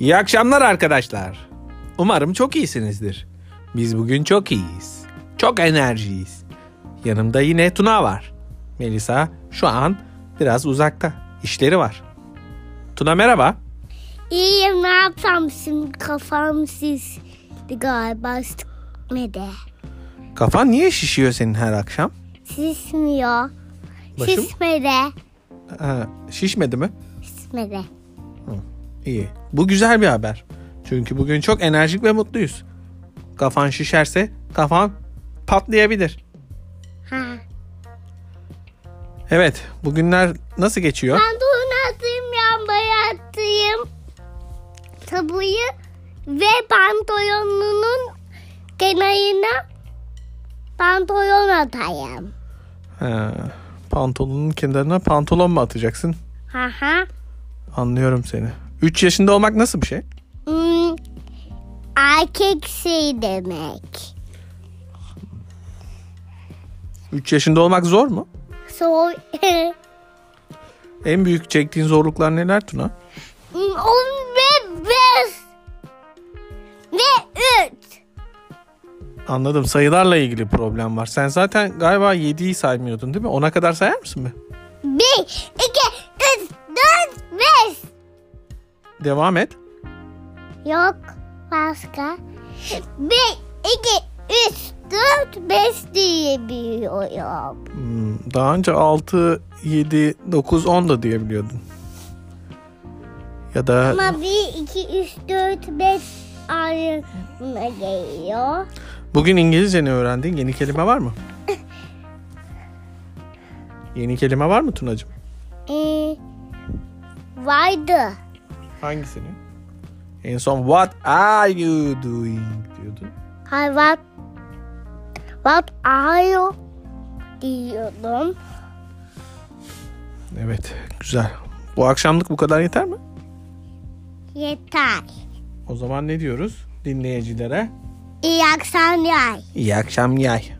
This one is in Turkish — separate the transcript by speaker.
Speaker 1: İyi akşamlar arkadaşlar. Umarım çok iyisinizdir. Biz bugün çok iyiyiz. Çok enerjiyiz. Yanımda yine Tuna var. Melisa şu an biraz uzakta. İşleri var. Tuna merhaba.
Speaker 2: İyiyim ne yapsam şimdi kafam şişti galiba sıkmadı.
Speaker 1: Kafan niye şişiyor senin her akşam?
Speaker 2: Şişmiyor.
Speaker 1: Başım?
Speaker 2: Şişmedi.
Speaker 1: Ha, şişmedi mi?
Speaker 2: Şişmedi.
Speaker 1: İyi. Bu güzel bir haber. Çünkü bugün çok enerjik ve mutluyuz. Kafan şişerse kafan patlayabilir.
Speaker 2: Ha.
Speaker 1: Evet, bugünler nasıl geçiyor?
Speaker 2: Ben donatayım lambaya atayım. Tabuyu ve pantolonunun kenarına pantolon atayım.
Speaker 1: Ha, Ee, pantolonun kenarına pantolon mu atacaksın?
Speaker 2: Ha ha.
Speaker 1: Anlıyorum seni. 3 yaşında olmak nasıl bir şey?
Speaker 2: Hmm. Erkek şey demek.
Speaker 1: 3 yaşında olmak zor mu?
Speaker 2: Soy.
Speaker 1: En büyük çektiğin zorluklar neler Tuna?
Speaker 2: On ve beş. Ve üç.
Speaker 1: Anladım. Sayılarla ilgili problem var. Sen zaten galiba 7'yi saymıyordun değil mi? Ona kadar sayar mısın be?
Speaker 2: Bir, iki, üç, dört, beş.
Speaker 1: Devam et.
Speaker 2: Yok başka. Bir, iki, üç, dört, beş diye biliyorum.
Speaker 1: Hmm, Daha önce 6, 7, 9, 10 da diyebiliyordun. Ya da
Speaker 2: Ama bir, iki, üç, dört, beş ayrımına geliyor.
Speaker 1: bugün İngilizce ne öğrendin? Yeni kelime var mı? Yeni kelime var mı Tunacığım?
Speaker 2: Ee, vardı.
Speaker 1: Hangisini? En son what are you doing diyordu.
Speaker 2: Hayır, what, what are you diyordum.
Speaker 1: Evet güzel. Bu akşamlık bu kadar yeter mi?
Speaker 2: Yeter.
Speaker 1: O zaman ne diyoruz dinleyicilere?
Speaker 2: İyi akşamlar.
Speaker 1: İyi akşam yay.